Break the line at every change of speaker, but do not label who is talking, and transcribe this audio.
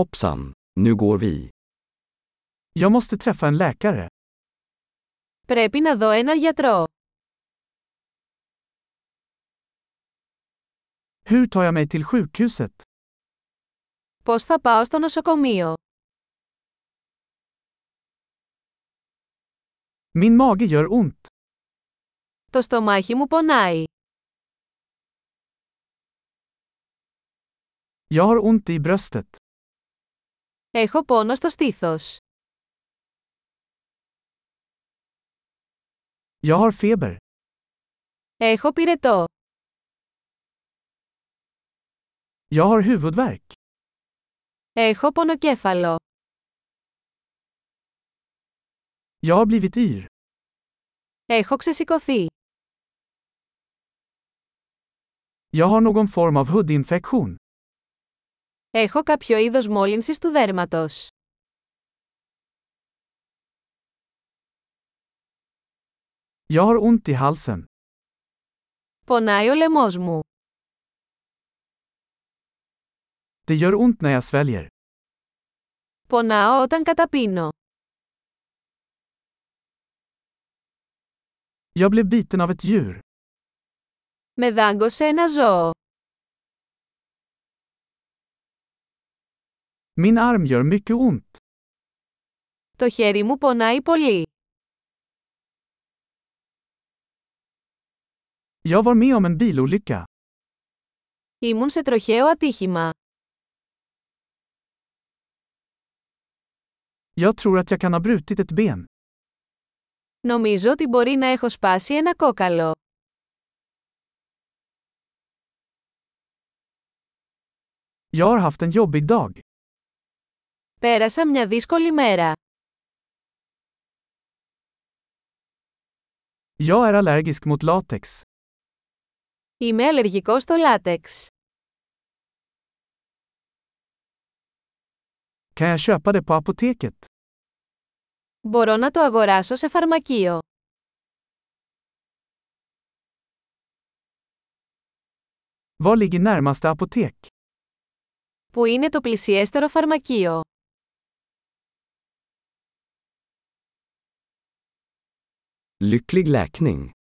Hoppsan, nu går vi.
Jag måste träffa en läkare.
Πρέπει να δω έναν γιατρό.
Hur tar jag mig till sjukhuset?
Πώς θα πάω στο νοσοκομείο.
Min mage gör ont.
Το στομάχι μου πονάει.
Jag har ont i bröstet.
Έχω πόνο στο στήθος.
Jag har feber.
Έχω πυρετό.
Jag har huvudvärk.
Έχω πονοκέφαλο.
Jag har blivit yr.
Έχω ξεσηκωθεί.
Jag har någon form av hudinfektion.
Έχω κάποιο είδος μόλυνσης του δέρματος.
Jag har ont i halsen.
Πονάει ο λαιμός μου.
Det gör ont när jag sväljer.
Πονάω όταν καταπίνω.
Jag blev biten av ett djur.
Με δάγκωσε ένα ζώο.
Min arm gör mycket ont.
Το χέρι μου πονάει πολύ.
Jag var med om en bilolycka.
Ήμουν σε τροχαίο ατύχημα.
Jag tror att jag kan ha brutit ett ben.
Νομίζω ότι μπορεί να έχω σπάσει ένα κόκαλο.
Jag har haft en jobbig dag.
Πέρασα μια δύσκολη μέρα.
Jag är allergisk mot latex.
Είμαι αλλεργικός στο λάτεξ.
Kan jag köpa det på apoteket?
Μπορώ να το αγοράσω σε φαρμακείο.
Var ligger närmaste apotek?
Που είναι το πλησιέστερο φαρμακείο.
Lycklig läkning!